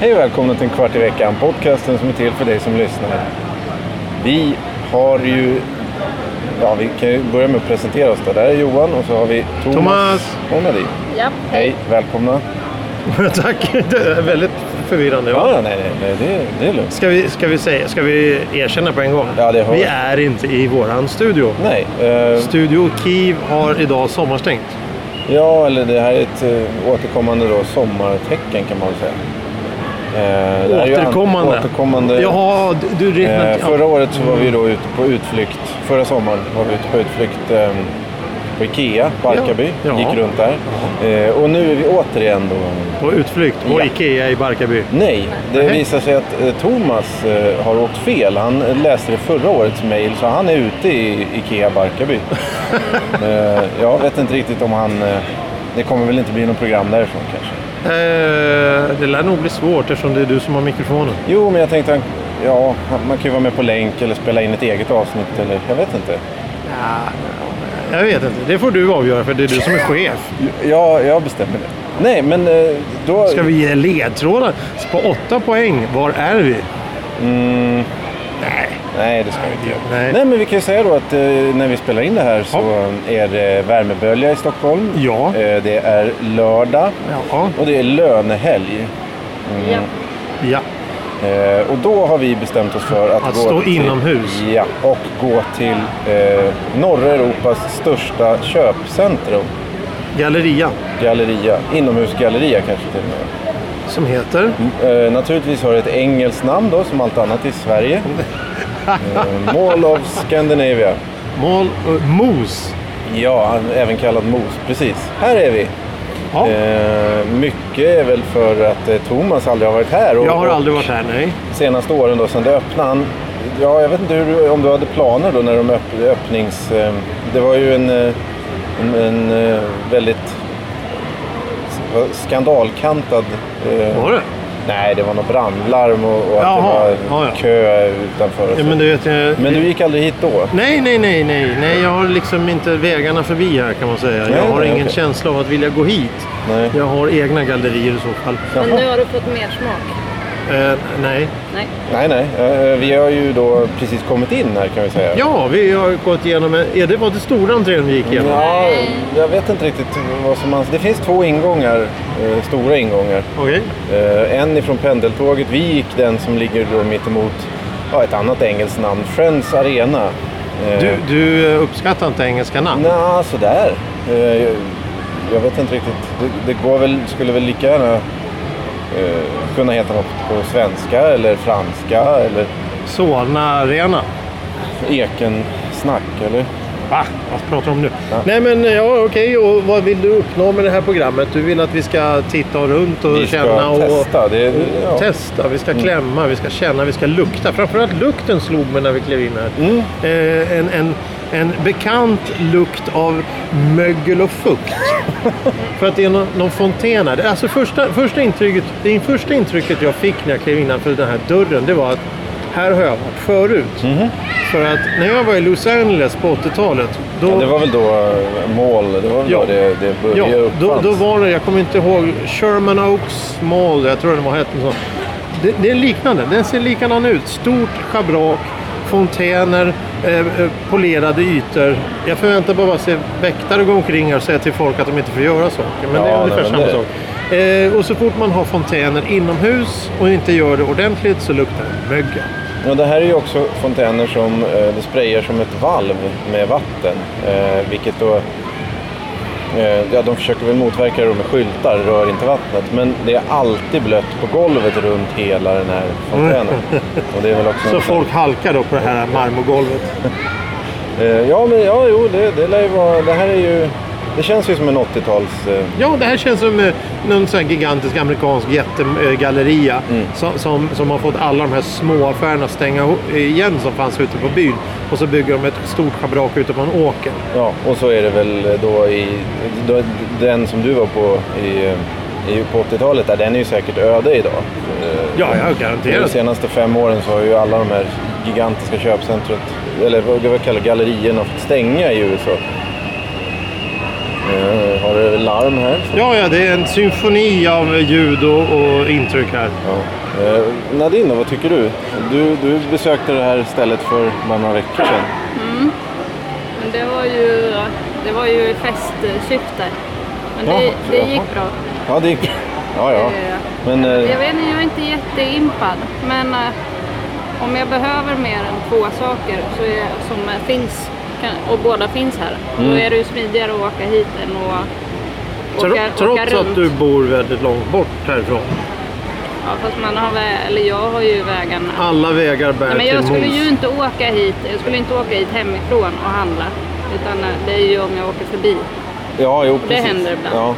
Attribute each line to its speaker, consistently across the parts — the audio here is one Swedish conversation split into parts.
Speaker 1: Hej och välkomna till en kvart i veckan, podcasten som är till för dig som lyssnar. Vi har ju... Ja, vi kan ju börja med att presentera oss. Då. Där är Johan och så har vi Thomas,
Speaker 2: Thomas!
Speaker 1: Onadi.
Speaker 3: Ja,
Speaker 1: Hej, välkomna.
Speaker 2: Tack! Det är väldigt förvirrande. va?
Speaker 1: Ja, ja, nej, nej, nej det, är- det är lugnt.
Speaker 2: Ska, vi, ska, vi säga, ska vi erkänna på en gång?
Speaker 1: Ja, det har
Speaker 2: vi
Speaker 1: jag.
Speaker 2: är inte i våran studio.
Speaker 1: Nej, eh,
Speaker 2: Studio Kiev har idag sommarstängt.
Speaker 1: ja, eller det här är ett eh, återkommande då, sommartecken kan man väl säga. Eh, det här är ju an-
Speaker 2: Återkommande.
Speaker 1: återkommande.
Speaker 2: Jaha, du- du räknar...
Speaker 1: Eh,
Speaker 2: ja.
Speaker 1: förra året så var vi då ute på utflykt. Förra sommaren var vi ute på utflykt eh, på Ikea, Barkarby.
Speaker 2: Ja. Ja.
Speaker 1: Gick runt där. Eh, och nu är vi återigen då...
Speaker 2: På utflykt på
Speaker 1: Ja.
Speaker 2: Ikea i Barkarby.
Speaker 1: Nej, det
Speaker 2: Nej.
Speaker 1: visar sig att eh, Thomas eh, har åkt fel. Han läste det förra årets mejl så han är ute i Ikea Barkarby. eh, jag vet inte riktigt om han... Eh, det kommer väl inte bli något program därifrån kanske.
Speaker 2: Eh, det lär nog bli svårt eftersom det är du som har mikrofonen.
Speaker 1: Jo, men jag tänkte... han- Ja, han- man kan ju vara med på länk eller spela in ett eget avsnitt eller jag vet inte.
Speaker 2: Jag vet inte, det får du avgöra för det är du som är chef.
Speaker 1: Ja, jag bestämmer det. Nej, men eh, då...
Speaker 2: Ska vi ge ledtrådar? På åtta poäng, var är vi?
Speaker 1: Nej, det ska vi inte göra.
Speaker 2: Nej.
Speaker 1: Nej, men vi kan ju säga då att eh, när vi spelar in det här så eh, är det värmebölja i Stockholm.
Speaker 2: Ja.
Speaker 1: Eh, det är lördag
Speaker 2: Ja.
Speaker 1: och det är lönehelg.
Speaker 3: ja.
Speaker 2: ja.
Speaker 1: Eh, och då har vi bestämt oss för att...
Speaker 2: Att
Speaker 1: gå
Speaker 2: stå
Speaker 1: till,
Speaker 2: inomhus.
Speaker 1: Ja, och gå till eh, norra Europas största köpcentrum.
Speaker 2: Galleria,
Speaker 1: Galleria. Inomhusgalleria kanske till och med.
Speaker 2: som heter?
Speaker 1: Eh, naturligtvis har det ett engelskt namn då, som allt annat i Sverige. eh, Mall of Scandinavia.
Speaker 2: Mål, eh, Mos.
Speaker 1: Ja, han- även kallad Mos. Precis. Här är vi.
Speaker 2: Ja.
Speaker 1: Eh, mycket är väl för att eh, Thomas aldrig har varit här. Och,
Speaker 2: Jag har
Speaker 1: och
Speaker 2: aldrig varit här, nej.
Speaker 1: senaste åren då, sedan det öppnade. Han, ja, jag vet inte hur, du- om du hade planer då när de öpp, öppnings... Eh, det var ju en, eh, en, en eh, väldigt s- skandalkantad... eh,
Speaker 2: Var det?
Speaker 1: Nej, det var något brandlarm och, och att
Speaker 2: Jaha,
Speaker 1: det var
Speaker 2: ja, ja.
Speaker 1: kö utanför. och
Speaker 2: Ja,
Speaker 1: så.
Speaker 2: men du vet, jag...
Speaker 1: men du gick aldrig hit då?
Speaker 2: Nej, nej, nej, nej, nej. Jag har liksom inte vägarna förbi här kan man säga.
Speaker 1: Nej,
Speaker 2: Jag har
Speaker 1: nej,
Speaker 2: ingen
Speaker 1: okej.
Speaker 2: känsla av att vilja gå hit.
Speaker 1: Nej.
Speaker 2: Jag har egna gallerier i så fall.
Speaker 3: Men nu har du fått mer smak.
Speaker 2: Eh, nej.
Speaker 3: Nej.
Speaker 1: Nej, nej. Eh, Vi har ju då precis kommit in här kan vi säga.
Speaker 2: Ja, vi har gått igenom... en- Är det var det stora entrén vi gick igenom?
Speaker 1: Ja, jag vet inte riktigt vad som man... Det finns två ingångar, eh, stora ingångar.
Speaker 2: Okej.
Speaker 1: Eh, En ifrån pendeltåget. Vi gick den som ligger då mitt emot ja, ett annat engelskt namn, Friends Arena. Eh,
Speaker 2: Du, du eh, uppskattar inte engelska namn?
Speaker 1: Nja, sådär. Eh, jag- Jag vet inte riktigt. Det, det går väl, skulle väl lika gärna eh, kunna heta något på svenska eller franska eller
Speaker 2: Solna Arena.
Speaker 1: ekensnack eller?
Speaker 2: Va? Vad pratar du om nu? Nej, men eh, ja, okej. Och vad vill du uppnå med det här programmet? Du vill att vi ska titta runt och
Speaker 1: Vi ska
Speaker 2: känna och...
Speaker 1: testa. Det, ja. Mm.
Speaker 2: Testa, vi ska klämma, vi ska känna, vi ska lukta. Framförallt lukten slog mig när vi klev in här.
Speaker 1: Mm.
Speaker 2: Eh, en, en, en bekant lukt av mögel och fukt. För att det är någon, någon fontän här. Det- Alltså första, första intrycket, det första intrycket jag fick när jag klev innanför den här dörren, det var att här har jag varit förut.
Speaker 1: Mm-hmm.
Speaker 2: För att när jag var i Los Angeles på 80-talet, då...
Speaker 1: Ja, det var väl då eh, mål, det var väl
Speaker 2: Ja.
Speaker 1: då det, det
Speaker 2: Ja,
Speaker 1: började
Speaker 2: då,
Speaker 1: uppfanns.
Speaker 2: då var det, jag kommer inte ihåg, Sherman Oaks Mall, jag tror den var hette så. Det, det är liknande, den ser likadan ut. Stort schabrak, fontäner, eh, eh, polerade ytor. Jag förväntar bara att se väktare gå omkring här och säga till folk att de inte får göra saker. Men det
Speaker 1: Ja,
Speaker 2: är ungefär
Speaker 1: nej, men
Speaker 2: samma
Speaker 1: det-
Speaker 2: sak. Eh, och så fort man har fontäner inomhus och inte gör det ordentligt så luktar det mögel.
Speaker 1: Ja, det här är ju också fontäner som eh, det sprayar som ett valv med vatten. Eh, vilket då... Eh, ja, de försöker väl motverka det då med skyltar, rör inte vattnet. Men det är alltid blött på golvet runt hela den här fontänen. Och det är väl också
Speaker 2: Mm. Så
Speaker 1: en-
Speaker 2: folk halkar då på det här marmorgolvet.
Speaker 1: eh, Ja, men ja, jo, det, det lär ju vara... Det här är ju... Det känns ju som en 80-tals... Eh,
Speaker 2: Ja, det här känns som eh, någon sån här gigantisk amerikansk jättegalleria som, som, som har fått alla de här små affärerna att stänga ho- igen som fanns ute på byn. Och så bygger de ett stort schabrak ute på en åker.
Speaker 1: Ja, och så är det väl då i då, den som du var på i eh, är ju på 80-talet, där, den är ju säkert öde idag. Eh,
Speaker 2: Ja, ja,
Speaker 1: De
Speaker 2: garanterat.
Speaker 1: senaste fem åren så har ju alla de här gigantiska köpcentret, eller vad vad kallar det, gallerierna fått stänga i USA. Eh, Har du larm här?
Speaker 2: Ja, ja, det är en symfoni av ljud och, och intryck här.
Speaker 1: Ja. Eh, Nadine, vad tycker du? du? Du besökte det här stället för bara några veckor sedan.
Speaker 3: Men det var ju, det var ju i festsyfte. Men
Speaker 1: Jaha,
Speaker 3: det, det
Speaker 1: jaha.
Speaker 3: gick bra.
Speaker 1: Ja, det gick Ja, ja.
Speaker 3: Eh,
Speaker 1: Men eh,
Speaker 3: Jag vet inte, jag är inte jätteimpad. Men eh, om jag behöver mer än två saker så är, som eh, finns, kan, och båda finns här, då är det ju smidigare att åka hit än att åka,
Speaker 2: Mm. Tro-
Speaker 3: åka
Speaker 2: Trots
Speaker 3: runt.
Speaker 2: att du bor väldigt långt bort härifrån.
Speaker 3: Ja, fast man har väl, eller jag har ju vägarna.
Speaker 2: Alla vägar bär
Speaker 3: Nej, men jag
Speaker 2: till
Speaker 3: skulle
Speaker 2: Mos.
Speaker 3: ju inte åka hit, jag skulle inte åka hit hemifrån och handla. Utan eh, det är ju om jag åker förbi.
Speaker 1: ja, jo,
Speaker 3: det
Speaker 1: precis.
Speaker 3: händer ibland. Mm.
Speaker 1: Ja.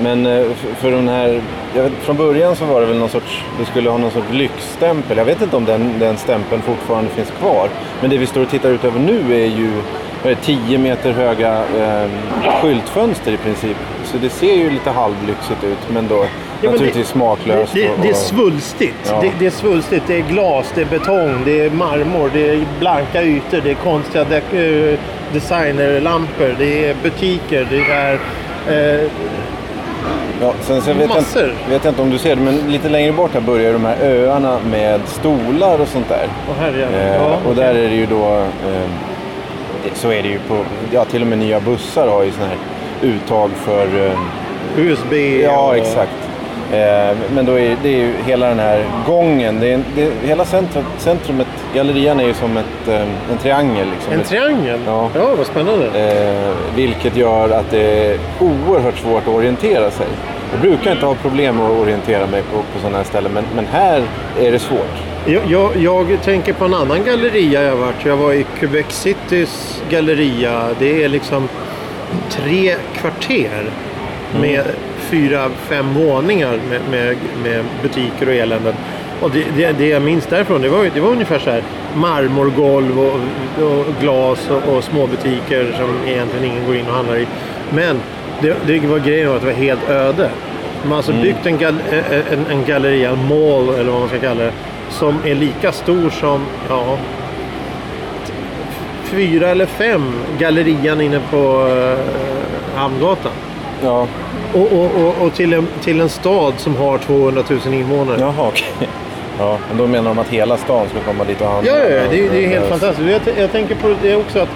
Speaker 1: Men eh, f- för den här, jag vet, från början så var det väl någon sorts, du skulle ha någon sorts lyxstämpel. Jag vet inte om den, den stämpeln fortfarande finns kvar. Men det vi står och tittar ut över nu är ju vad är det, 10 meter höga eh, skyltfönster i princip. Så det ser ju lite halvlyxigt ut men då
Speaker 2: men det-
Speaker 1: naturligtvis smaklöst.
Speaker 2: Det,
Speaker 1: och-
Speaker 2: det är
Speaker 1: och-
Speaker 2: svulstigt.
Speaker 1: Ja.
Speaker 2: Det, det är svulstigt. Det är glas, det är betong, det är marmor, det är blanka ytor, det är konstiga de- eh, designerlampor, det är butiker, det är... Eh,
Speaker 1: Ja, sen så vet, jag,
Speaker 2: Massor.
Speaker 1: vet jag inte om du ser det, men lite längre bort här börjar de här öarna med stolar och sånt där.
Speaker 2: och här är
Speaker 1: Eh,
Speaker 2: ja.
Speaker 1: och där är det ju då, eh, det- så är det ju på, ja till och med nya bussar har ju sådana här uttag för, eh,
Speaker 2: USB.
Speaker 1: ja
Speaker 2: och-
Speaker 1: exakt. Eh, men då är det är ju hela den här gången, det är, det, hela centrum, centrumet, gallerian är ju som ett, eh, en triangel. Liksom.
Speaker 2: En
Speaker 1: Ett-
Speaker 2: triangel?
Speaker 1: Ja.
Speaker 2: vad spännande.
Speaker 1: Eh, vilket gör att det är oerhört svårt att orientera sig. Jag brukar inte ha problem att orientera mig på, på sådana här ställen, men, men här är det svårt.
Speaker 2: Jag, jag, jag tänker på en annan galleria jag varit. Jag var i Quebec Citys galleria. Det är liksom tre kvarter med fyra, fem våningar med, med, med butiker och eländen. Och det, det, det jag minns därifrån, det var, ju- det var ungefär så här marmorgolv och, och glas och, och små butiker som egentligen ingen går in och handlar i. Men det, det var grejen var att det var helt öde. De har alltså byggt en, gal, eh, en, en galleria, en mall eller vad man ska kalla det, som är lika stor som, ja, fyra eller fem gallerian inne på eh, Hamngatan.
Speaker 1: Ja,
Speaker 2: Och, och, och, och till, en, till en stad som har 200 000 invånare.
Speaker 1: jaha okej. Ja, men då menar de att hela stan ska komma dit och handla.
Speaker 2: Ja, ja, ja, det, är- det är helt fantastiskt. Jag, t- jag tänker på det också att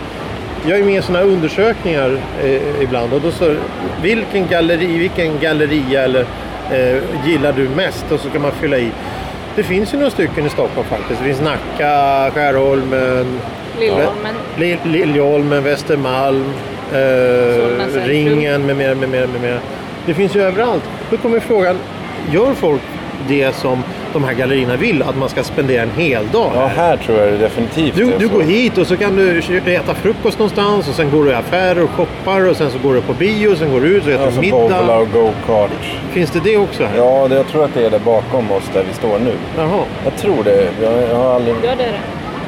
Speaker 2: jag är med i sådana undersökningar eh, ibland och då så vilken galleri, vilken galleria eller eh, gillar du mest? Och så kan man fylla i. Det finns ju några stycken i Stockholm faktiskt. Det finns Nacka, Skärholmen,
Speaker 3: Lillholmen.
Speaker 2: Lil- Liljeholmen, Västermalm, eh,
Speaker 3: centrum.
Speaker 2: Ringen med mera, med mera, med mera. Det finns ju överallt. Då kommer frågan, gör folk det som de här gallerierna vill, att man ska spendera en hel dag
Speaker 1: Ja,
Speaker 2: här?
Speaker 1: här tror jag det definitivt
Speaker 2: Du,
Speaker 1: är
Speaker 2: du
Speaker 1: så.
Speaker 2: går hit och så kan du äta frukost någonstans och sen går du i affärer och shoppar och sen så går du på bio och sen går du ut och äter
Speaker 1: Alltså bowla
Speaker 2: middag.
Speaker 1: och go-kart.
Speaker 2: Finns det det också här?
Speaker 1: Ja, det, jag tror att det är där bakom oss där vi står nu.
Speaker 2: Jaha,
Speaker 1: Jag tror det. Jag, jag har aldrig...
Speaker 3: Ja, det är det.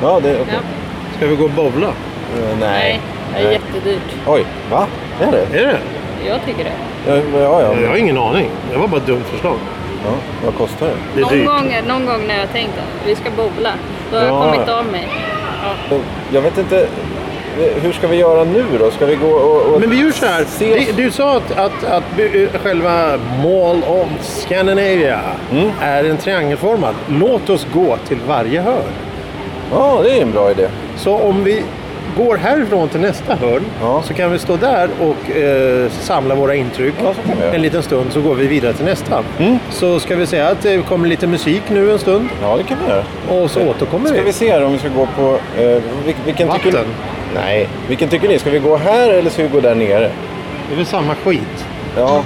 Speaker 1: Ja, det... okej.
Speaker 3: Ja.
Speaker 2: ska vi gå och bowla?
Speaker 1: Eh,
Speaker 3: Nej,
Speaker 1: Nej.
Speaker 3: det är jättedyrt.
Speaker 1: Oj, va? Är det?
Speaker 2: Är det?
Speaker 3: Jag tycker det.
Speaker 1: Ja, ja, ja.
Speaker 2: Jag har ingen aning. Det var bara ett dumt förslag.
Speaker 1: Ja, vad kostar det?
Speaker 2: Det är
Speaker 3: Någon
Speaker 2: dyrt.
Speaker 3: gång, någon gång när jag tänkt att vi ska bowla, då har
Speaker 1: Ja.
Speaker 3: jag kommit av mig. Ja.
Speaker 1: Jag vet inte, Eh, hur ska vi göra nu då? Ska vi gå och... och
Speaker 2: Men vi gör så här.
Speaker 1: se oss?
Speaker 2: Du, du sa att, att, att by- eh, själva Mall of Scandinavia
Speaker 1: Mm.
Speaker 2: är en triangelformad. Låt oss gå till varje hörn.
Speaker 1: Ja, det är en bra idé.
Speaker 2: Så om vi går härifrån till nästa hörn
Speaker 1: Ja.
Speaker 2: så kan vi stå där och eh, samla våra intryck
Speaker 1: Ja, så kan vi göra. Mm.
Speaker 2: en liten stund så går vi vidare till nästa. Så ska vi säga att det kommer lite musik nu en stund
Speaker 1: Ja, det kan vi göra.
Speaker 2: och så återkommer
Speaker 1: Ska
Speaker 2: vi.
Speaker 1: vi se här om vi ska gå på... Eh, vil- vilken Tycker,
Speaker 2: Vatten.
Speaker 1: nej. Vilken tycker ni? Ska vi gå här eller ska vi gå där nere?
Speaker 2: Det är väl samma skit.
Speaker 1: Ja.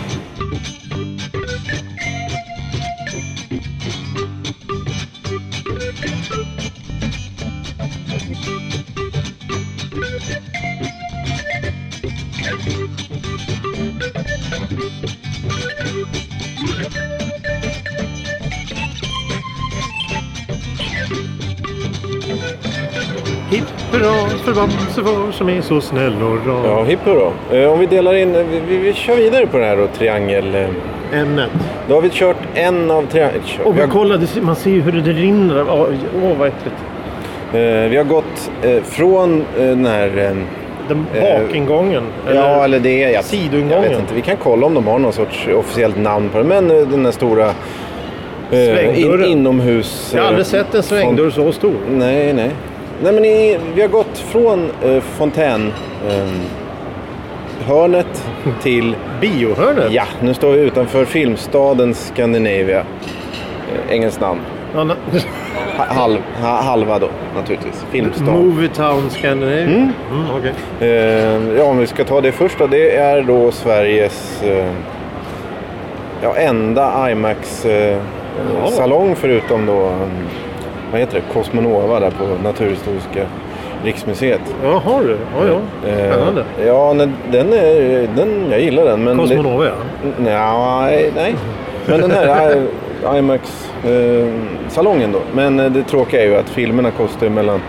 Speaker 2: Hipp hurra för Bamse vår som är så snäll och rar.
Speaker 1: Ja, hipp hurra. Eh, om vi delar in... eh, Vi, vi, vi kör vidare på den här då, triangel... Eh,
Speaker 2: ämnet.
Speaker 1: Då har vi kört en av tre... kört.
Speaker 2: Och
Speaker 1: Vi
Speaker 2: vi
Speaker 1: har,
Speaker 2: kollade, man ser ju hur det rinner. av- Åh, åh, vad äckligt.
Speaker 1: eh, vi har gått eh, från eh, den här... Eh,
Speaker 2: Den
Speaker 1: Eh,
Speaker 2: bakingången.
Speaker 1: ja, eller det är... Jag, jag
Speaker 2: sidoingången.
Speaker 1: vet inte. Vi kan kolla om de har någon sorts officiellt namn på den. Men eh, den här stora... Eh, in,
Speaker 2: Svängdörren.
Speaker 1: inomhus...
Speaker 2: Jag har aldrig
Speaker 1: eh,
Speaker 2: sett en svängdörr så stor.
Speaker 1: Nej, nej. Nej, men i, vi har gått från eh, fontän... Eh, hörnet till...
Speaker 2: Biohörnet?
Speaker 1: Ja, nu står vi utanför filmstaden Scandinavia. Eh, engelskt namn.
Speaker 2: Ja, na-
Speaker 1: Ha- Halv, ha, halva då, naturligtvis. Filmstaden.
Speaker 2: Movie Town Scandinavia. Mm. okej.
Speaker 1: Eh, ja, om vi ska ta det först då. Det är då Sveriges eh, ja, enda
Speaker 2: Jaha.
Speaker 1: IMAX-salong förutom då, eh, vad heter det, Cosmonova där på Naturhistoriska riksmuseet.
Speaker 2: Jaha du. Ja, ja.
Speaker 1: Eh,
Speaker 2: Spännande.
Speaker 1: Ja, nej, den är, den, jag gillar den. Men det-
Speaker 2: Cosmonova, ja.
Speaker 1: Nej, nej.
Speaker 2: Mm.
Speaker 1: Men den här I- IMAX-salongen då. Men eh, det tråkiga är ju att filmerna kostar ju mellan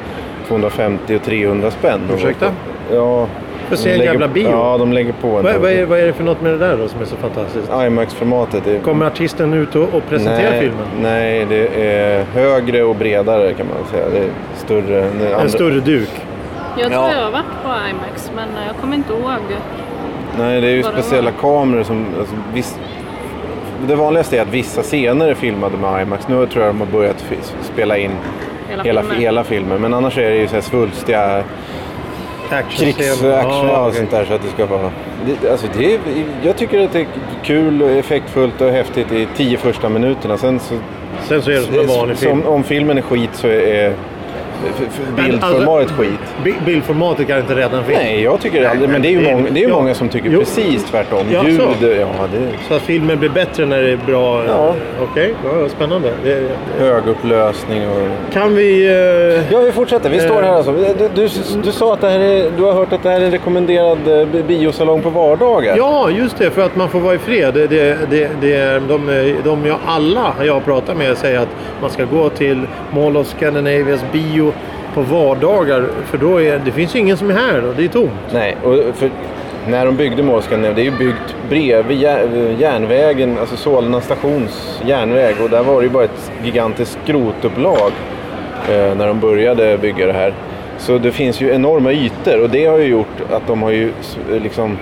Speaker 1: 250 och 300 spänn.
Speaker 2: Ursäkta?
Speaker 1: Ja.
Speaker 2: För att se
Speaker 1: de
Speaker 2: en
Speaker 1: lägger-
Speaker 2: jävla bio?
Speaker 1: Ja, de lägger på en.
Speaker 2: Vad, vad, är, vad är det för något med det där då som är så fantastiskt?
Speaker 1: IMAX-formatet är...
Speaker 2: Kommer artisten ut och, och presenterar
Speaker 1: nej,
Speaker 2: filmen?
Speaker 1: Nej, det är högre och bredare kan man säga. Det är större. än andra-
Speaker 2: En större duk.
Speaker 3: Jag tror
Speaker 1: Ja.
Speaker 3: jag har varit på IMAX men jag kommer inte ihåg.
Speaker 1: Nej, det är ju
Speaker 3: Vad det
Speaker 1: speciella kameror som... Alltså, viss, det vanligaste är att vissa scener är filmade med IMAX. Nu tror jag de har börjat fi- spela in
Speaker 3: Hela
Speaker 1: hela,
Speaker 3: filmen.
Speaker 1: hela filmen. Men annars är det ju så här svulstiga
Speaker 2: Actionscen.
Speaker 1: krigs action
Speaker 2: Ja,
Speaker 1: och
Speaker 2: okej.
Speaker 1: sånt där. Så att det ska vara... Det, alltså det är, jag tycker att det är kul, och effektfullt och häftigt i tio första minuterna. Sen så,
Speaker 2: Sen så är det som en vanlig film.
Speaker 1: som, om filmen är skit så är f- f-
Speaker 2: Men
Speaker 1: bildformatet
Speaker 2: alltså-
Speaker 1: skit.
Speaker 2: Bi- Bildformatet kan inte rädda en film.
Speaker 1: Nej, jag tycker det aldrig. Men det är ju, många, det är ju
Speaker 2: Ja.
Speaker 1: många som tycker
Speaker 2: Jo.
Speaker 1: precis tvärtom.
Speaker 2: Ja, så.
Speaker 1: Ljud, ja det...
Speaker 2: Så att filmen blir bättre när det är bra...
Speaker 1: Ja.
Speaker 2: Okej, ja, spännande. Det,
Speaker 1: Högupplösning och...
Speaker 2: kan vi... eh,
Speaker 1: Ja, vi fortsätter. Vi står här alltså. Du, du, du sa att det här är, du har hört att det här är en rekommenderad eh, bi- biosalong på vardagar.
Speaker 2: Ja, just det. För att man får vara i fred. Det, det, det, det är de, de jag, alla jag pratar med säger att man ska gå till Mall of Scandinavias bio på vardagar. För då är, det finns ju ingen som är här då. Det är tomt.
Speaker 1: Nej, och för, när de byggde Måskan, det är ju byggt bredvid jär- järnvägen, alltså Solna stations järnväg. Och där var det ju bara ett gigantiskt skrotupplag eh, när de började bygga det här. Så det finns ju enorma ytor och det har ju gjort att de har ju s- liksom,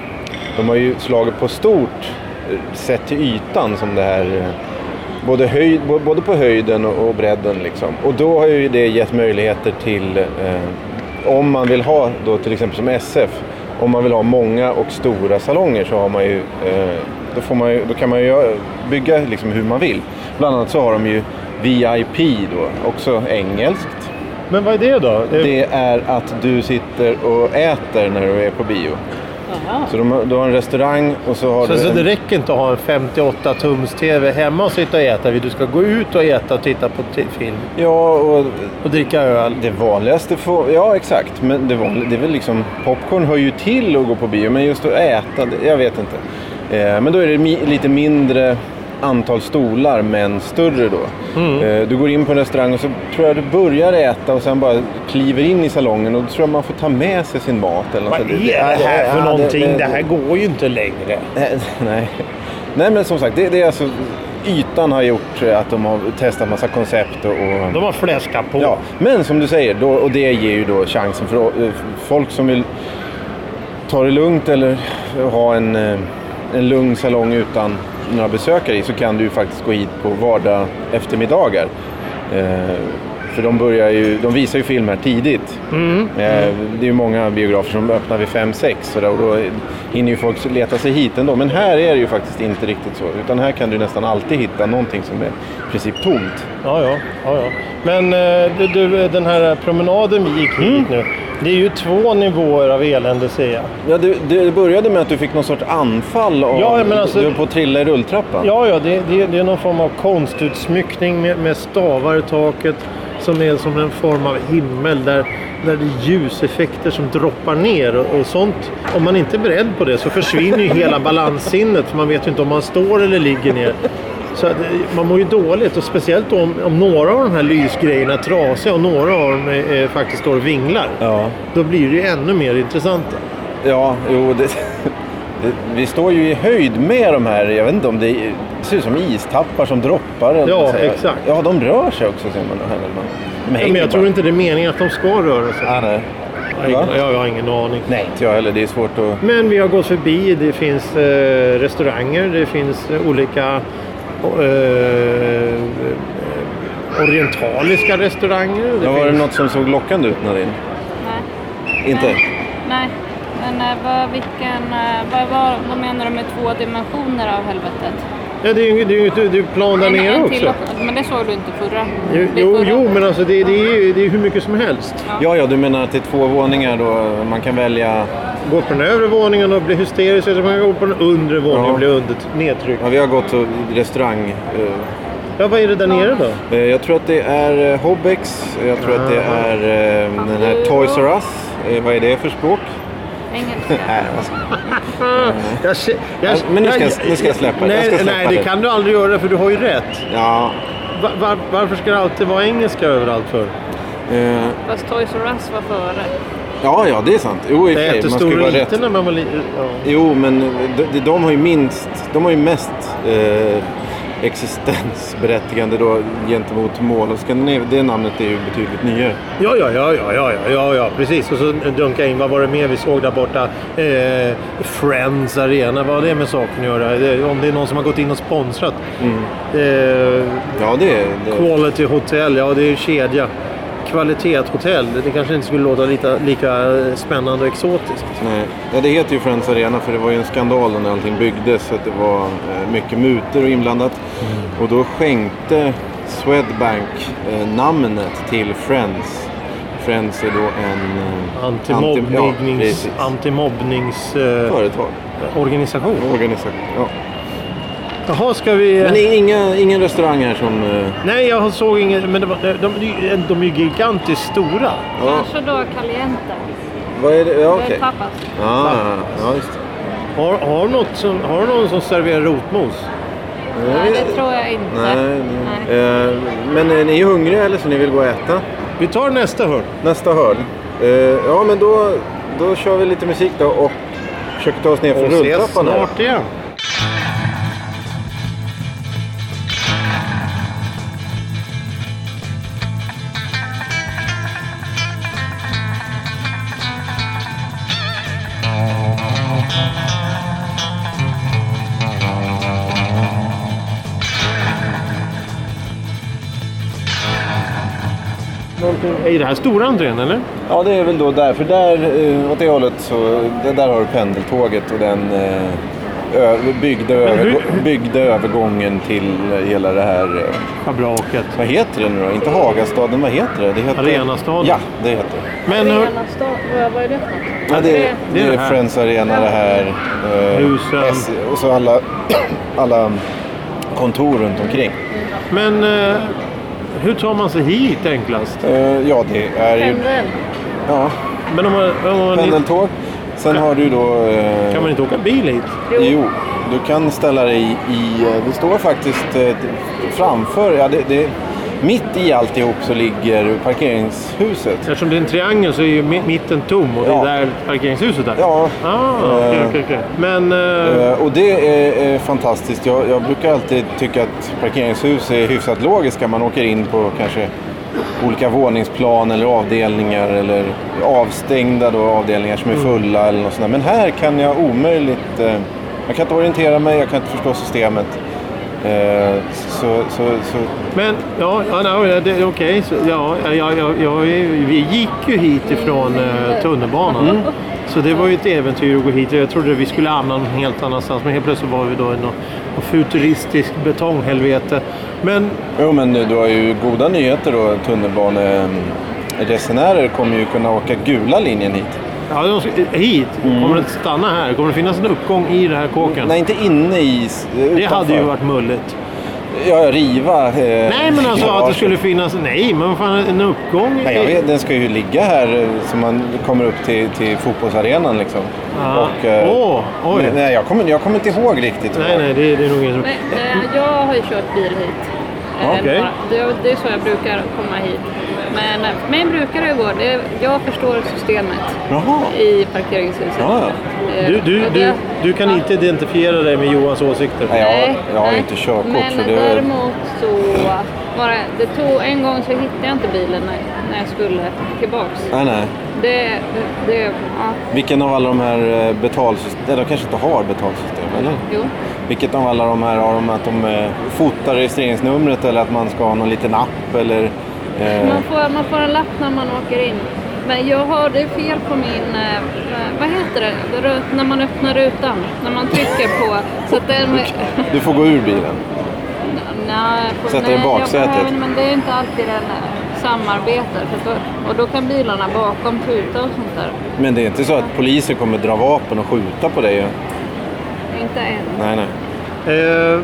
Speaker 1: de har ju slagit på stort eh, sett till ytan som det här eh, Både, höjd, bo- både på höjden och och bredden. Liksom. Och då har ju det gett möjligheter till, eh, om man vill ha då till exempel som SF, om man vill ha många och stora salonger så har man ju, eh, då, får man ju, då kan man ju göra- bygga liksom hur man vill. Bland annat så har de ju VIP då, också engelskt.
Speaker 2: Men vad är det då?
Speaker 1: Det är att du sitter och äter när du är på bio.
Speaker 3: Jaha.
Speaker 1: Så de, har- du har en restaurang och så har
Speaker 2: så,
Speaker 1: du...
Speaker 2: så
Speaker 1: en-
Speaker 2: det räcker inte att ha en 58-tums-TV hemma och sitta och äta vid. Du ska gå ut och äta och titta på t- film
Speaker 1: Ja, och
Speaker 2: och dricka öl.
Speaker 1: Det vanligaste, får, ja exakt, men det, vanliga, det är väl liksom, popcorn hör ju till att gå på bio, men just att äta, det- jag vet inte. Eh, men då är det mi, lite mindre antal stolar, men större då.
Speaker 2: Mm.
Speaker 1: Eh, du går in på en restaurang och så tror jag du börjar äta och sen bara kliver in i salongen och då tror jag man får ta med sig sin mat. Eller något
Speaker 2: Vad är
Speaker 1: sånt.
Speaker 2: det här
Speaker 1: ja,
Speaker 2: för någonting?
Speaker 1: det-
Speaker 2: Det här går ju inte längre.
Speaker 1: Nej, Nej. Nej, men som sagt, det, det är alltså, ytan har gjort att de har testat massa koncept och... och
Speaker 2: De har fläskat på.
Speaker 1: Ja, men som du säger, då, och det ger ju då chansen för eh, folk som vill ta det lugnt eller ha en, eh, en lugn salong utan några besökare i så kan du ju faktiskt gå hit på vardag eftermiddagar. Eh, för de, börjar ju, de visar ju film här tidigt. Eh, det är ju många biografer som öppnar vid 5-6 och då- och då hinner ju folk leta sig hit ändå. Men här är det ju faktiskt inte riktigt så. Utan här kan du nästan alltid hitta någonting som är i princip tomt.
Speaker 2: Ja, ja, ja, ja. Men eh, du, du, den här promenaden vi gick hit nu. Det är ju två nivåer av elände ser jag.
Speaker 1: Ja, det, det började med att du fick någon sorts anfall av,
Speaker 2: Ja, men alltså-
Speaker 1: du höll på att trilla i rulltrappan.
Speaker 2: Ja, ja, det, det, det är någon form av konstutsmyckning med, med stavar i taket. Som är som en form av himmel där, där det är ljuseffekter som droppar ner och, och sånt. Om man inte är beredd på det så försvinner ju hela balanssinnet. För man vet ju inte om man står eller ligger ner. Så att, eh, man mår ju dåligt och speciellt om, om några av de här lysgrejerna är trasiga och några av dem är, är, faktiskt står och vinglar.
Speaker 1: ja.
Speaker 2: Då blir det ju ännu mer intressant.
Speaker 1: Ja, jo, det, det, vi står ju i höjd med de här, jag vet inte om det, är- det ser ut som istappar som droppar. eller
Speaker 2: Ja,
Speaker 1: vad säger jag?
Speaker 2: exakt.
Speaker 1: Ja, de rör sig också ser man. Här, man. De
Speaker 2: Ja, men
Speaker 1: hänger
Speaker 2: jag tror
Speaker 1: bara.
Speaker 2: inte det är meningen att de ska röra sig.
Speaker 1: Ah, nej.
Speaker 2: jag,
Speaker 1: Va?
Speaker 2: har- jag har ingen aning.
Speaker 1: nej, inte jag heller. Det är svårt att...
Speaker 2: Men vi har gått förbi, det finns eh, restauranger, det finns eh, olika eh, eh, orientaliska restauranger. Det
Speaker 1: Ja, var det
Speaker 2: finns...
Speaker 1: något som såg lockande ut Nadine?
Speaker 3: Nej.
Speaker 1: Inte?
Speaker 3: Nej. Nej. Men eh, vad, vilken, eh, vad, vad, vad menar du med två dimensioner av helvetet?
Speaker 2: ja, det är ju det är, ju- det är ju plan där
Speaker 3: En-
Speaker 2: nere
Speaker 3: en till
Speaker 2: också.
Speaker 3: och- Men det såg du inte förra.
Speaker 2: Jo,
Speaker 3: Det
Speaker 2: jo,
Speaker 3: förra.
Speaker 2: jo men alltså det, det, är, ju- det är hur mycket som helst.
Speaker 1: Ja, ja, du menar att det är två våningar då man kan välja...
Speaker 2: Gå på den övre våningen och bli hysterisk eller man kan gå på den undre våningen
Speaker 1: Ja.
Speaker 2: och bli under, nedtryckt.
Speaker 1: Ja, vi har gått till restaurang. eh,
Speaker 2: Ja, vad är det där nere då?
Speaker 1: eh, Jag tror att det är eh, Hobbex. Jag tror att det
Speaker 2: Aha.
Speaker 1: är eh, den här Toys R Us. Eh, Vad är det för språk?
Speaker 3: Engelska.
Speaker 1: Nej, Äh, vad ska-
Speaker 2: Ah, Jag, kä- jag,
Speaker 1: Ja, men nu ska jag- nu ska jag släppa det.
Speaker 2: nej,
Speaker 1: Jag ska släppa
Speaker 2: nej, det
Speaker 1: det.
Speaker 2: kan du aldrig göra för du har ju rätt.
Speaker 1: Ja,
Speaker 2: Va- va- varför ska det alltid vara engelska överallt för?
Speaker 1: eh,
Speaker 3: Fast Toys R Us var före.
Speaker 1: ja, ja, det är sant. Jo, i och
Speaker 2: Jag
Speaker 1: för sig,
Speaker 2: äter
Speaker 1: man ska ju
Speaker 2: stor och
Speaker 1: vara
Speaker 2: liten
Speaker 1: rätt.
Speaker 2: när man var liten. Ja.
Speaker 1: Jo, men eh, de, de har ju minst, de har ju mest eh, existensberättigande då gentemot mål och Scandinavia. Det namnet är ju betydligt nyare.
Speaker 2: Ja, ja, ja, ja, ja, ja, ja, ja, precis. Och så dunkade jag in, vad var det mer vi såg där borta? Eh, Friends Arena, vad har det med saken att göra? Det- Om det är någon som har gått in och sponsrat.
Speaker 1: Mm.
Speaker 2: Eh,
Speaker 1: Ja, det är... Det.
Speaker 2: quality Hotel, ja det är ju kedja. Kvalitetshotell, det kanske inte skulle låta lika, lika spännande och exotiskt.
Speaker 1: Nej. Ja, det heter ju Friends Arena för det var ju en skandal när allting byggdes. Så att det var eh, mycket mutor och inblandat. Och då skänkte Swedbank eh, namnet till Friends. Friends är då en... eh, anti- ja,
Speaker 2: Antimobbnings...
Speaker 1: precis.
Speaker 2: Antimobbnings... Eh,
Speaker 1: Företag,
Speaker 2: organisation.
Speaker 1: organisation. Ja.
Speaker 2: Jaha, ska vi...
Speaker 1: Men det är inga, ingen restaurang här som... eh,
Speaker 2: Nej, jag såg ingen... Men det var, de, de, de är ju gigantiskt stora.
Speaker 1: Ja,
Speaker 3: Kanske då Caliente.
Speaker 1: vad är det? Ja,
Speaker 3: Det
Speaker 1: okej.
Speaker 3: är pappas.
Speaker 1: Ah, ja, just det.
Speaker 2: Har, har, något som, har någon som serverar rotmos?
Speaker 3: Nej, det tror jag inte.
Speaker 1: Nej,
Speaker 3: Nej.
Speaker 1: nej. Eh, men är ni hungriga eller så ni vill gå och äta?
Speaker 2: Vi tar nästa hörn.
Speaker 1: Nästa hörn. Eh, ja, men då, då kör vi lite musik då och försöker ta oss ner för
Speaker 2: Och ses
Speaker 1: rulltrappan här.
Speaker 2: snart igen. Någonting- Är det här stora entrén eller?
Speaker 1: Ja, det är väl då där. För där, eh, åt det hållet, så, det där har du pendeltåget och den eh, ö, byggda, övergå- byggda övergången till eh, hela det här... Eh,
Speaker 2: Fabraket.
Speaker 1: vad heter det nu då? Inte Hagastaden, vad heter det? det heter,
Speaker 2: Arenastaden.
Speaker 1: Ja, det heter det.
Speaker 2: Men eh, hör,
Speaker 3: Arena Stad, vad- vad är det för något?
Speaker 1: Ja, det, är,
Speaker 2: det
Speaker 1: det
Speaker 2: är
Speaker 1: är
Speaker 2: det här.
Speaker 1: Friends Arena det här. eh,
Speaker 2: Husen.
Speaker 1: S- och så alla, alla kontor runt omkring.
Speaker 2: Men eh, hur tar man sig hit enklast?
Speaker 1: Eh, ja, det är ju...
Speaker 3: Pendel.
Speaker 1: Ja,
Speaker 2: Men om man, om man,
Speaker 1: pendeltåg. Sen har du då... eh,
Speaker 2: kan man inte åka bil hit?
Speaker 1: Jo, du kan ställa dig i... eh, Det står faktiskt eh, framför... Ja, det, det, mitt i alltihop så ligger parkeringshuset.
Speaker 2: Eftersom det är en triangel så är ju mi- mitten tom och
Speaker 1: Ja.
Speaker 2: det är där parkeringshuset är.
Speaker 1: Ja.
Speaker 2: Ah, okej,
Speaker 1: Eh.
Speaker 2: okej, okej. Men eh,
Speaker 1: Eh, Och det är eh, fantastiskt. Jag, jag brukar alltid tycka att parkeringshus är hyfsat logiska. Man åker in på kanske olika våningsplan eller avdelningar eller avstängda då, avdelningar som är
Speaker 2: Mm.
Speaker 1: fulla eller något sånt där. Men här kan jag omöjligt... eh, Jag kan inte orientera mig, jag kan inte förstå systemet. Eh, Så, så, så
Speaker 2: Men, ja, ja no, det- det, okej. så- Ja, ja, ja, ja, ja, vi vi gick ju hit ifrån eh, tunnelbanan.
Speaker 1: Mm.
Speaker 2: Så det var ju ett äventyr att gå hit. Jag trodde vi skulle hamna någon helt annanstans. Men helt plötsligt var vi då i något något futuristiskt betonghelvete. Men
Speaker 1: Jo, men du har ju goda nyheter då. Tunnelbaneresenärer kommer ju kunna åka gula linjen hit.
Speaker 2: ja, de ska, eh, hit? Kommer det inte stanna här? Kommer det finnas en uppgång i den här kåken?
Speaker 1: Mm. Nej, Eh, inte inne i...
Speaker 2: det hade ju varit mulligt.
Speaker 1: Ja, riva... Eh,
Speaker 2: Nej, men alltså att det
Speaker 1: garaget.
Speaker 2: skulle finnas... Nej, men vad fan, en uppgång?
Speaker 1: Nej, jag vet, den ska ju ligga här eh, så man kommer upp till, till fotbollsarenan liksom.
Speaker 2: Ah.
Speaker 1: eh,
Speaker 2: Åh, oj.
Speaker 1: Nej, nej jag, kommer, jag kommer inte ihåg riktigt.
Speaker 2: Nej, nej, det, det är nog ingen som...
Speaker 3: Nej, eh, jag har ju kört bil hit. Eh,
Speaker 2: Okej.
Speaker 3: några- det, det är så jag brukar komma hit. Men eh, för mig brukar det gå. Det, jag förstår systemet
Speaker 1: Jaha.
Speaker 3: i parkeringshuset.
Speaker 1: Ja,
Speaker 3: Eh,
Speaker 2: Du, du,
Speaker 3: och
Speaker 2: du,
Speaker 3: det-
Speaker 2: du kan
Speaker 3: ja.
Speaker 2: inte identifiera dig med Johans åsikter?
Speaker 1: Nej, jag,
Speaker 3: Nej,
Speaker 1: jag har ju
Speaker 3: nej.
Speaker 1: inte körkort.
Speaker 3: Men
Speaker 1: så det...
Speaker 3: däremot så var det, det tog, en gång så hittade jag inte bilen när, när jag skulle tillbaks.
Speaker 1: Nej, nej.
Speaker 3: Det, det, ja,
Speaker 1: Vilken av alla de här betalsystemen... De kanske inte har betalsystem, eller?
Speaker 3: jo.
Speaker 1: Vilket av alla de här har de att de eh, fotar registreringsnumret eller att man ska ha någon liten app eller... Eh,
Speaker 3: Man får, man får en lapp när man åker in. Men jag har det är fel på min, eh, vad heter det, Rut- när man öppnar rutan. När man trycker på. Så att den,
Speaker 1: du får gå ur bilen.
Speaker 3: Nej, på-
Speaker 1: Sätta
Speaker 3: nej,
Speaker 1: i baksätet.
Speaker 3: jag behöver- Men det är inte alltid den eh, samarbetar. För att då, och då kan bilarna bakom tuta och sånt där.
Speaker 1: Men det är inte så att poliser kommer dra vapen och skjuta på dig?
Speaker 3: Inte än.
Speaker 1: Nej, nej.
Speaker 2: Eh,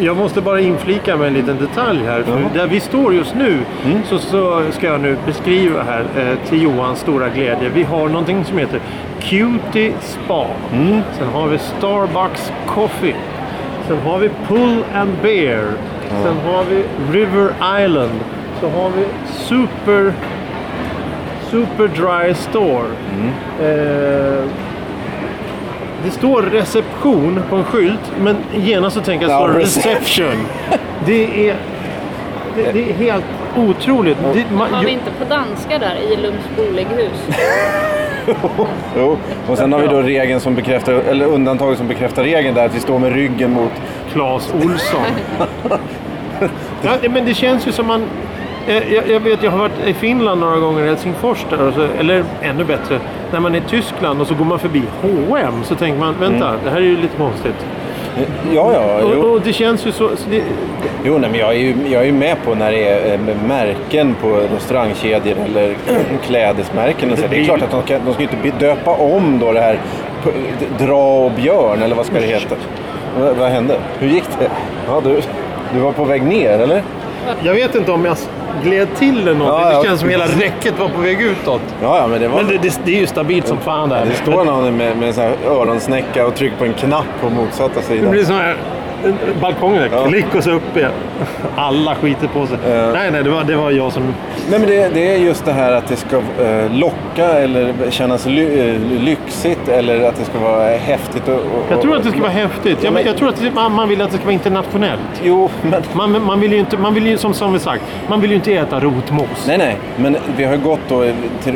Speaker 2: jag måste bara inflika med en liten detalj här. För
Speaker 1: Jaha.
Speaker 2: Där vi står just nu så, så ska jag nu beskriva här eh, till Johans stora glädje. Vi har någonting som heter Cutie Spa. Sen har vi Starbucks Coffee. Sen har vi Pull and Bear. Sen har vi River Island. Så har vi Super, Super Dry Store.
Speaker 1: Mm.
Speaker 2: Eh, det står reception på en skylt, men genast så tänker jag
Speaker 1: Ja,
Speaker 2: står det
Speaker 1: rece-
Speaker 2: reception. Det är, det, det är helt otroligt. Det, man,
Speaker 3: Var vi
Speaker 2: ju,
Speaker 3: inte på danska där i Lums bolighus?
Speaker 1: Jo. Och sen har vi då regeln som bekräftar, eller undantaget som bekräftar regeln där att vi står med ryggen mot...
Speaker 2: Claes Olsson. ja, det- men det känns ju som man... eh, Jag, jag vet, jag har varit i Finland några gånger, i Helsingfors där, och så, eller ännu bättre, när man är i Tyskland och så går man förbi H&M så tänker man, vänta, det här är ju lite konstigt.
Speaker 1: Ja, Mm. ja. Jo.
Speaker 2: Och, och det känns ju så... så det,
Speaker 1: Jo, nej, men jag är, ju, jag är ju med på när det är eh, märken på restaurangkedjor eller klädesmärken. Och så. Det är klart att de, kan, de ska ju inte be- döpa om då det här p- Dra och björn eller vad ska det heta? Va, vad hände? Hur gick det? Ja, du, du var på väg ner eller?
Speaker 2: jag vet inte om jag gled till eller något.
Speaker 1: Ja, ja.
Speaker 2: Det känns som hela räcket var på väg utåt.
Speaker 1: Ja, ja men det var...
Speaker 2: Men det, det, det är ju stabilt som fan det här.
Speaker 1: det står någon med, med en sån här öronsnäcka och trycker på en knapp på motsatta
Speaker 2: Det
Speaker 1: sidan.
Speaker 2: blir sån här eh, balkongen, där,
Speaker 1: Ja.
Speaker 2: klick och så upp igen. Alla skiter på sig. Nej, nej, det var, det var jag som...
Speaker 1: Nej, men det, det är just det här att det ska eh, locka eller kännas ly, eh, lyxigt eller att det ska vara häftigt. Och, och,
Speaker 2: Jag tror att det ska vara häftigt.
Speaker 1: Ja,
Speaker 2: Jag,
Speaker 1: men-
Speaker 2: jag tror att det, man, man vill att det ska vara internationellt.
Speaker 1: Jo, men...
Speaker 2: Man, man vill ju inte, man vill ju, som, som vi sagt, man vill ju inte äta rotmos.
Speaker 1: Nej, nej, men vi har ju gått då till,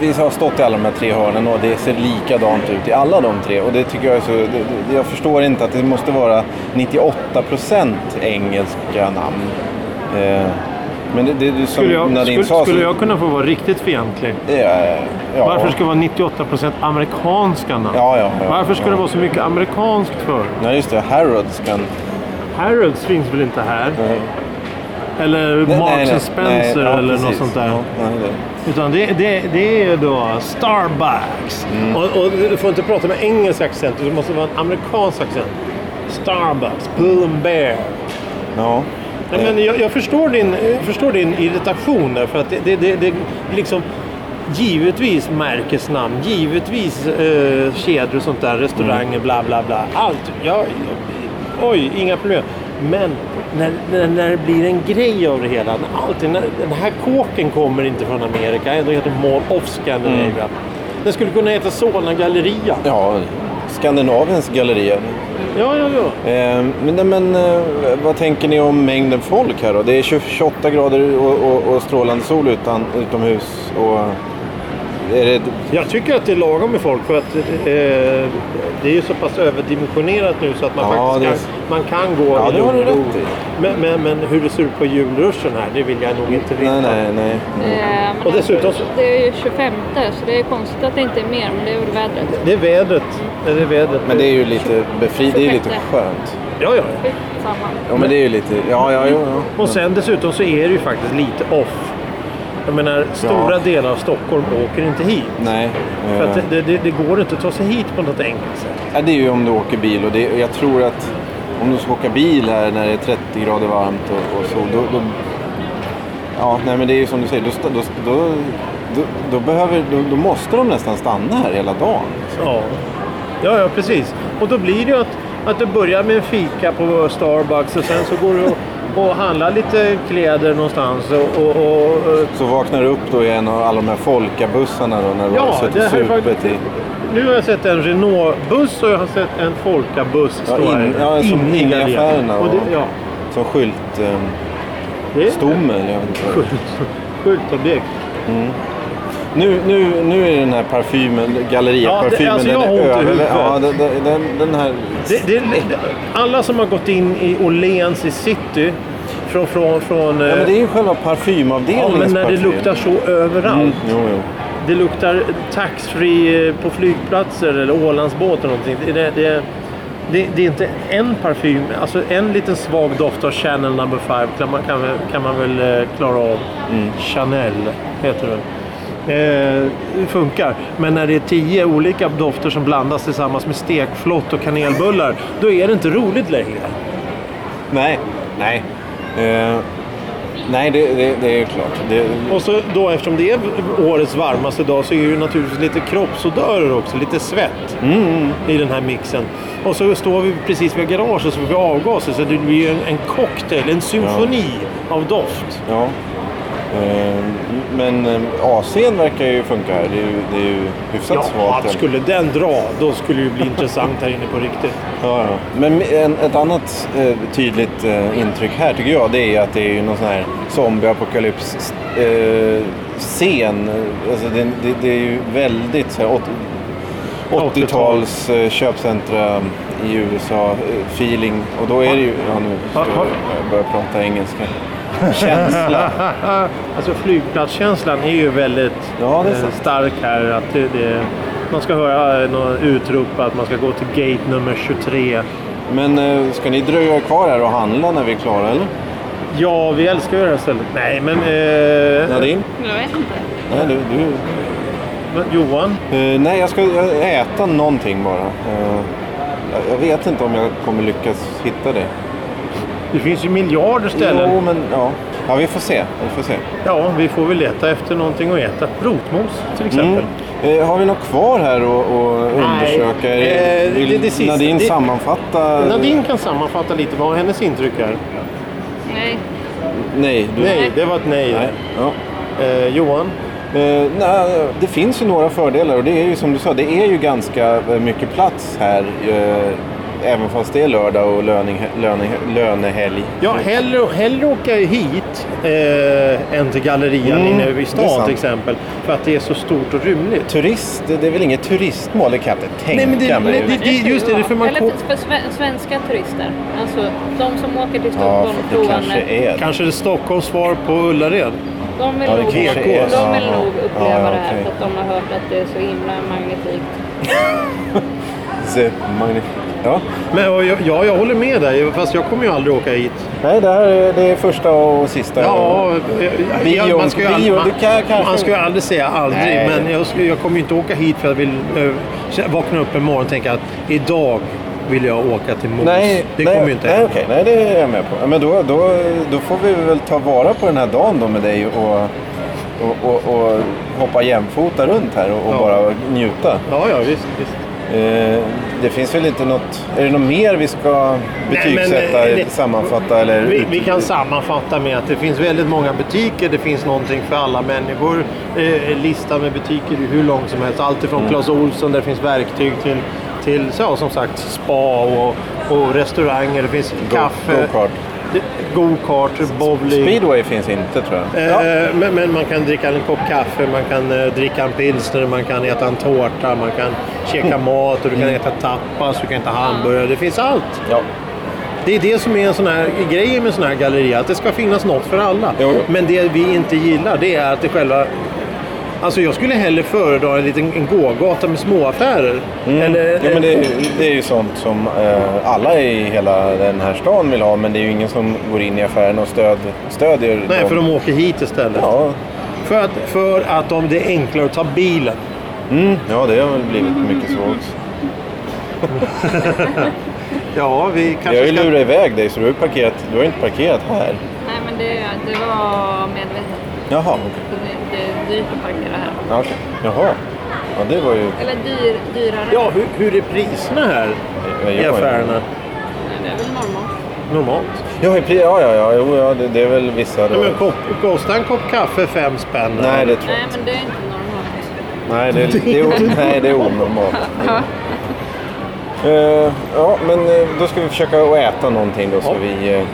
Speaker 1: Vi har stått i alla de här tre hörnen och det ser likadant ut i alla de tre. Och det tycker jag är så... Det, det, jag förstår inte att det måste vara 98% engelska namn. Eh, men det, det, det som
Speaker 2: Skulle jag,
Speaker 1: Nadine
Speaker 2: skulle,
Speaker 1: sa... så-
Speaker 2: skulle jag kunna få vara riktigt fientlig?
Speaker 1: Ja, ja,
Speaker 2: Varför ska det vara 98% amerikanska namn?
Speaker 1: Ja, ja, ja.
Speaker 2: Varför ska det vara så mycket amerikanskt för?
Speaker 1: Nej, just det. Harrods kan...
Speaker 2: Harrods finns väl inte här? Eller
Speaker 1: Nej,
Speaker 2: Marks
Speaker 1: nej, nej.
Speaker 2: and Spencer
Speaker 1: Nej, ja,
Speaker 2: eller något
Speaker 1: precis.
Speaker 2: sånt där.
Speaker 1: Ja, nej, det.
Speaker 2: Utan det, det, det är då Starbucks.
Speaker 1: Mm.
Speaker 2: Och, och du får inte prata med engelsk accent, det måste vara en amerikansk accent. Starbucks, Pull and Bear.
Speaker 1: Ja.
Speaker 2: Nej, men jag, jag förstår, din, jag förstår din irritation där, för att det, det, det, det liksom... Givetvis märkesnamn, givetvis eh, kedjor och sånt där, restauranger, bla bla bla. Allt. Ja, oj, inga problem. Men när, när, när det blir en grej av det hela, när allting, när, den här kåken kommer inte från Amerika, den heter Mall of Scandinavia. Den skulle kunna heta Solna Galleria.
Speaker 1: ja, Skandinaviens galleria.
Speaker 2: Ja, ja, ja.
Speaker 1: Eh, Men, nej, men eh, vad tänker ni om mängden folk här då? Det är 20 28 grader och, och, och strålande sol utan, utomhus. Och är det,
Speaker 2: Jag tycker att det är lagom med folk för att eh, det är ju så pass överdimensionerat nu så att man
Speaker 1: Ja,
Speaker 2: faktiskt kan, man kan gå
Speaker 1: Ja,
Speaker 2: i
Speaker 1: det har du
Speaker 2: lugn och ro.
Speaker 1: rätt i.
Speaker 2: men, men, men hur det ser ut på julruschen här, det vill jag nog inte veta.
Speaker 1: nej, nej, nej.
Speaker 3: Eh, men
Speaker 2: Och dessutom så-
Speaker 3: alltså, Det är ju 25 så det är konstigt att det inte är mer, men det är väl vädret.
Speaker 2: Det är vädret. Det är vädret.
Speaker 1: Men det är ju lite befriande. Det är ju lite skönt.
Speaker 2: Ja, ja.
Speaker 3: Skitsamma.
Speaker 1: Ja, men det är ju lite... Ja, ja, jo, ja.
Speaker 2: Och sen dessutom så är det ju faktiskt lite off. Jag menar, stora
Speaker 1: Ja.
Speaker 2: delar av Stockholm åker inte hit.
Speaker 1: Nej.
Speaker 2: För att
Speaker 1: eh,
Speaker 2: det, det, det, det går inte att ta sig hit på något enkelt sätt.
Speaker 1: ja, det är ju om du åker bil och det, jag tror att om du ska åka bil här när det är 30 grader varmt och, och sol, då, då... Ja, nej men det är ju som du säger, då, sta- då, då, då, då, behöver, då, då måste de nästan stanna här hela dagen.
Speaker 2: Ja. ja, ja precis. Och då blir det ju att, att du börjar med en fika på Starbucks och sen så går du och och handlar lite kläder någonstans. Och, och, och, eh,
Speaker 1: Så vaknar du upp då igen och alla de här folkabussarna då när du
Speaker 2: Ja,
Speaker 1: har
Speaker 2: det
Speaker 1: suttit
Speaker 2: här är
Speaker 1: supet i.
Speaker 2: nu har jag sett en Renault-buss och jag har sett en Folkabuss
Speaker 1: Ja,
Speaker 2: stå
Speaker 1: in-
Speaker 2: här.
Speaker 1: ja, som
Speaker 2: Inne
Speaker 1: in i
Speaker 2: gallerian.
Speaker 1: affärerna
Speaker 2: Och
Speaker 1: och-
Speaker 2: det, ja,
Speaker 1: Som skyltstomme.
Speaker 2: det är
Speaker 1: eller jag vet inte. vad.
Speaker 2: sjukt- skyltobjekt.
Speaker 1: Nu, nu, nu är den här parfymen, galleriaparfymen,
Speaker 2: Ja, det- alltså, jag
Speaker 1: den
Speaker 2: har
Speaker 1: är
Speaker 2: ont i
Speaker 1: över...
Speaker 2: huvudet.
Speaker 1: Ja, den, den- den, den här...
Speaker 2: Det, det, det- alla som har gått in i Åhléns i city från... från, från
Speaker 1: Ja, men det
Speaker 2: eh,
Speaker 1: är ju själva parfymavdelningens
Speaker 2: ja, men när det
Speaker 1: parfym.
Speaker 2: luktar så överallt.
Speaker 1: Mm, jo, jo.
Speaker 2: Det luktar taxfree eh, på flygplatser eller Ålandsbåt eller någonting. Det, det, det, det, det är inte en parfym, alltså en liten svag doft av Chanel number five kan man, kan, väl- kan man väl eh, klara av. Chanel heter det. Eh, det funkar. Men när det är tio olika dofter som blandas tillsammans med stekflott och kanelbullar, då är det inte roligt längre.
Speaker 1: Nej, nej. Eh, nej, det, det, det är klart. Det,
Speaker 2: Och så då eftersom det är årets varmaste dag så är det ju naturligtvis lite kroppsodörer också, lite svett i den här mixen. Och så står vi precis vid garaget så får vi avgaser så det blir ju en, en cocktail, en symfoni av doft.
Speaker 1: ja. Eh, men eh, AC'n verkar ju funka här. Det är ju, det är ju hyfsat svalt.
Speaker 2: att skulle den dra, då skulle det ju bli intressant här inne på riktigt.
Speaker 1: Ja, ja. Men en, ett annat eh, tydligt eh, intryck här tycker jag det är att det är ju någon sån här zombieapokalyps-scen. alltså det, det, det är ju väldigt så här, åt- 80-tals eh, köpcentra i USA-feeling. Och då är det ju... Ja, nu
Speaker 2: Ha-
Speaker 1: förstår
Speaker 2: ha-
Speaker 1: jag. jag börjar prata engelska. Känsla.
Speaker 2: alltså flygplatskänslan är ju väldigt
Speaker 1: Ja, det är
Speaker 2: eh,
Speaker 1: sant.
Speaker 2: stark här. Att det, det, man ska höra eh, någon utropa att man ska gå till gate nummer 23.
Speaker 1: Men eh, ska ni dröja kvar här och handla när vi är klara eller?
Speaker 2: Ja, vi älskar ju det här stället. Nej, men... Eh,
Speaker 1: Nadine?
Speaker 3: Jag vet inte.
Speaker 1: Nej, du, du,
Speaker 2: Men Johan?
Speaker 1: Eh, nej, jag ska äta någonting bara. Eh, jag- jag vet inte om jag kommer lyckas hitta det.
Speaker 2: Det finns ju miljarder ställen.
Speaker 1: Jo, men ja. Ja, vi får se. Vi får se. Mm.
Speaker 2: Ja, vi får väl leta efter någonting att äta. Rotmos till exempel.
Speaker 1: Mm. Eh, har vi något kvar här att att undersöka?
Speaker 2: Eh,
Speaker 1: Vill
Speaker 2: det- det sista-
Speaker 1: Nadine
Speaker 2: det-
Speaker 1: sammanfatta?
Speaker 2: Nadine kan sammanfatta lite vad hennes intryck är.
Speaker 3: Nej.
Speaker 1: Nej. Du...
Speaker 2: Nej, det var ett nej.
Speaker 1: Nej. Ja.
Speaker 2: Eh, Johan?
Speaker 1: Eh, nej, det finns ju några fördelar och det är ju som du sa, det är ju ganska eh, mycket plats här. Eh, även fast det är lördag och löning, löning, lönehelg.
Speaker 2: Ja, hellre, hellre åka hit eh, än till gallerian
Speaker 1: Mm,
Speaker 2: inne i
Speaker 1: det är
Speaker 2: stan
Speaker 1: sant.
Speaker 2: till exempel. För att det är så stort och rymligt.
Speaker 1: Turist, det är väl inget turistmål, det kan jag inte tänka
Speaker 2: Nej, men det-
Speaker 1: mig.
Speaker 2: nej, det-
Speaker 3: ska
Speaker 2: just det, det är
Speaker 3: vara.
Speaker 2: för man
Speaker 3: Eller
Speaker 2: ko-
Speaker 3: för sve- svenska turister. Alltså de som åker till
Speaker 1: Ja,
Speaker 3: Stockholm
Speaker 1: det
Speaker 3: från...
Speaker 1: kanske är det.
Speaker 2: Kanske det är Stockholms svar på Ullared.
Speaker 3: De vill,
Speaker 1: Ja, det
Speaker 3: nog,
Speaker 1: kanske
Speaker 3: de
Speaker 1: är så.
Speaker 3: vill nog
Speaker 1: Ja,
Speaker 3: uppleva
Speaker 1: ja,
Speaker 3: det här
Speaker 1: okej.
Speaker 3: för att de har hört att det är så himla magnifikt.
Speaker 1: The eh, Magnif- Ja.
Speaker 2: Men ja, jag, ja, jag håller med dig. Fast jag kommer ju aldrig åka hit.
Speaker 1: Nej, det här är det är första och sista.
Speaker 2: Ja, jag,
Speaker 1: Bio-
Speaker 2: man ska ju
Speaker 1: bio,
Speaker 2: aldrig, man,
Speaker 1: du kan- kanske-
Speaker 2: man ska ju aldrig säga aldrig,
Speaker 1: Nej.
Speaker 2: men jag, ska- jag kommer ju inte åka hit för jag vill eh, vakna upp en morgon och tänka att idag vill jag åka till Mos.
Speaker 1: Nej,
Speaker 2: det
Speaker 1: nej,
Speaker 2: kommer ju inte
Speaker 1: nej,
Speaker 2: hända.
Speaker 1: okej, nej, det är jag med på. Ja, Men då, då, då får vi väl ta vara på den här dagen då med dig och, och, och, och hoppa jämfota runt här och, och
Speaker 2: Ja.
Speaker 1: bara njuta.
Speaker 2: Ja, ja, visst. visst.
Speaker 1: Eh, det finns väl inte något... Är det något mer vi ska betygsätta,
Speaker 2: men, eh, det-
Speaker 1: sammanfatta eller...
Speaker 2: Vi,
Speaker 1: ut-
Speaker 2: vi kan sammanfatta med att det finns väldigt många butiker, det finns någonting för alla människor. Eh, listan med butiker är hur lång som helst. Allt ifrån
Speaker 1: Mm.
Speaker 2: Clas Ohlson där det finns verktyg till, till så, som sagt spa och, och restauranger. Det finns
Speaker 1: Go-
Speaker 2: kaffe.
Speaker 1: go-kart.
Speaker 2: Det- Go-kart, bowling.
Speaker 1: Speedway finns inte tror jag.
Speaker 2: Eh, men, men man kan dricka en kopp kaffe, man kan eh, dricka en pilsner, man kan äta en tårta, man kan käka mat och du kan äta tapas, du kan äta hamburgare. Det finns allt.
Speaker 1: Ja.
Speaker 2: Det är det som är en sån här grej med sån här galleria, att det ska finnas något för alla.
Speaker 1: Jo, jo.
Speaker 2: Men det vi inte gillar, det är att det själva... Alltså jag skulle hellre föredra en liten en gågata med småaffärer. Eller,
Speaker 1: Mm. Ja, men det, det är ju sånt som eh, alla i hela den här stan vill ha, men det är ju ingen som går in i affären och stöd, stödjer
Speaker 2: Nej,
Speaker 1: dem.
Speaker 2: för de åker hit istället.
Speaker 1: Ja,
Speaker 2: För att, för att de, det är enklare att ta bilen.
Speaker 1: mm, ja, det har väl blivit mycket så också.
Speaker 2: Ja, vi
Speaker 1: Jag har
Speaker 2: kanske
Speaker 1: ju
Speaker 2: ska...
Speaker 1: lurat iväg dig, så du har ju parkerat, du har ju inte parkerat här.
Speaker 3: Nej men det, det var medvetet.
Speaker 1: Jaha, okej.
Speaker 3: För Det, det är dyrt att parkera här.
Speaker 1: Ja, okej. Jaha. Ja, det var ju...
Speaker 3: Eller dyr, dyrare.
Speaker 2: Ja, hur, hur är priserna här
Speaker 1: jag
Speaker 2: i
Speaker 1: har ju-
Speaker 2: affärerna?
Speaker 3: Nej, Det är väl normalt.
Speaker 2: normalt.
Speaker 1: Ja, i pri- ja, ja, ja, jo, ja det, det är väl vissa
Speaker 2: Nej,
Speaker 1: då.
Speaker 2: men kopp, kostar en kopp kaffe fem spänn?
Speaker 1: Nej, det tror jag
Speaker 3: Nej,
Speaker 1: inte.
Speaker 3: men det är inte normalt.
Speaker 1: Nej, det, det, är, o- nej, det är onormalt.
Speaker 3: Ja.
Speaker 1: Eh, ja, men eh, då ska vi försöka att äta någonting då. Så
Speaker 2: Ja.
Speaker 1: vi, eh,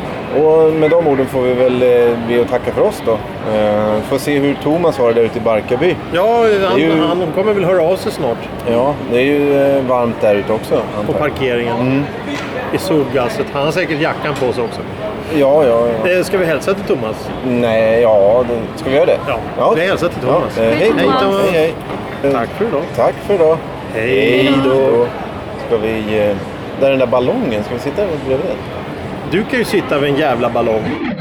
Speaker 1: och med de orden får vi väl eh, be och tacka för oss då. Eh, får se hur Thomas har det där ute i Barkarby.
Speaker 2: Ja, han,
Speaker 1: Det är ju-
Speaker 2: han kommer väl höra av sig snart
Speaker 1: Ja, det är ju eh, varmt där ute också.
Speaker 2: på
Speaker 1: antar jag.
Speaker 2: parkeringen. I solgasset. Han har säkert jackan på sig också.
Speaker 1: Ja, ja, ja.
Speaker 2: Eh, Ska vi hälsa till Thomas?
Speaker 1: Nej, ja, det, ska vi göra det?
Speaker 2: Ja, vi hälsar till Thomas.
Speaker 1: Ja, eh, hej,
Speaker 3: Hej, Thomas.
Speaker 1: Hej, hej. Eh,
Speaker 2: Tack för idag.
Speaker 1: Tack för idag.
Speaker 2: Hej
Speaker 1: då. Ska vi... eh, Där den där ballongen, ska vi sitta bredvid den?
Speaker 2: Du kan ju sitta vid en jävla ballong.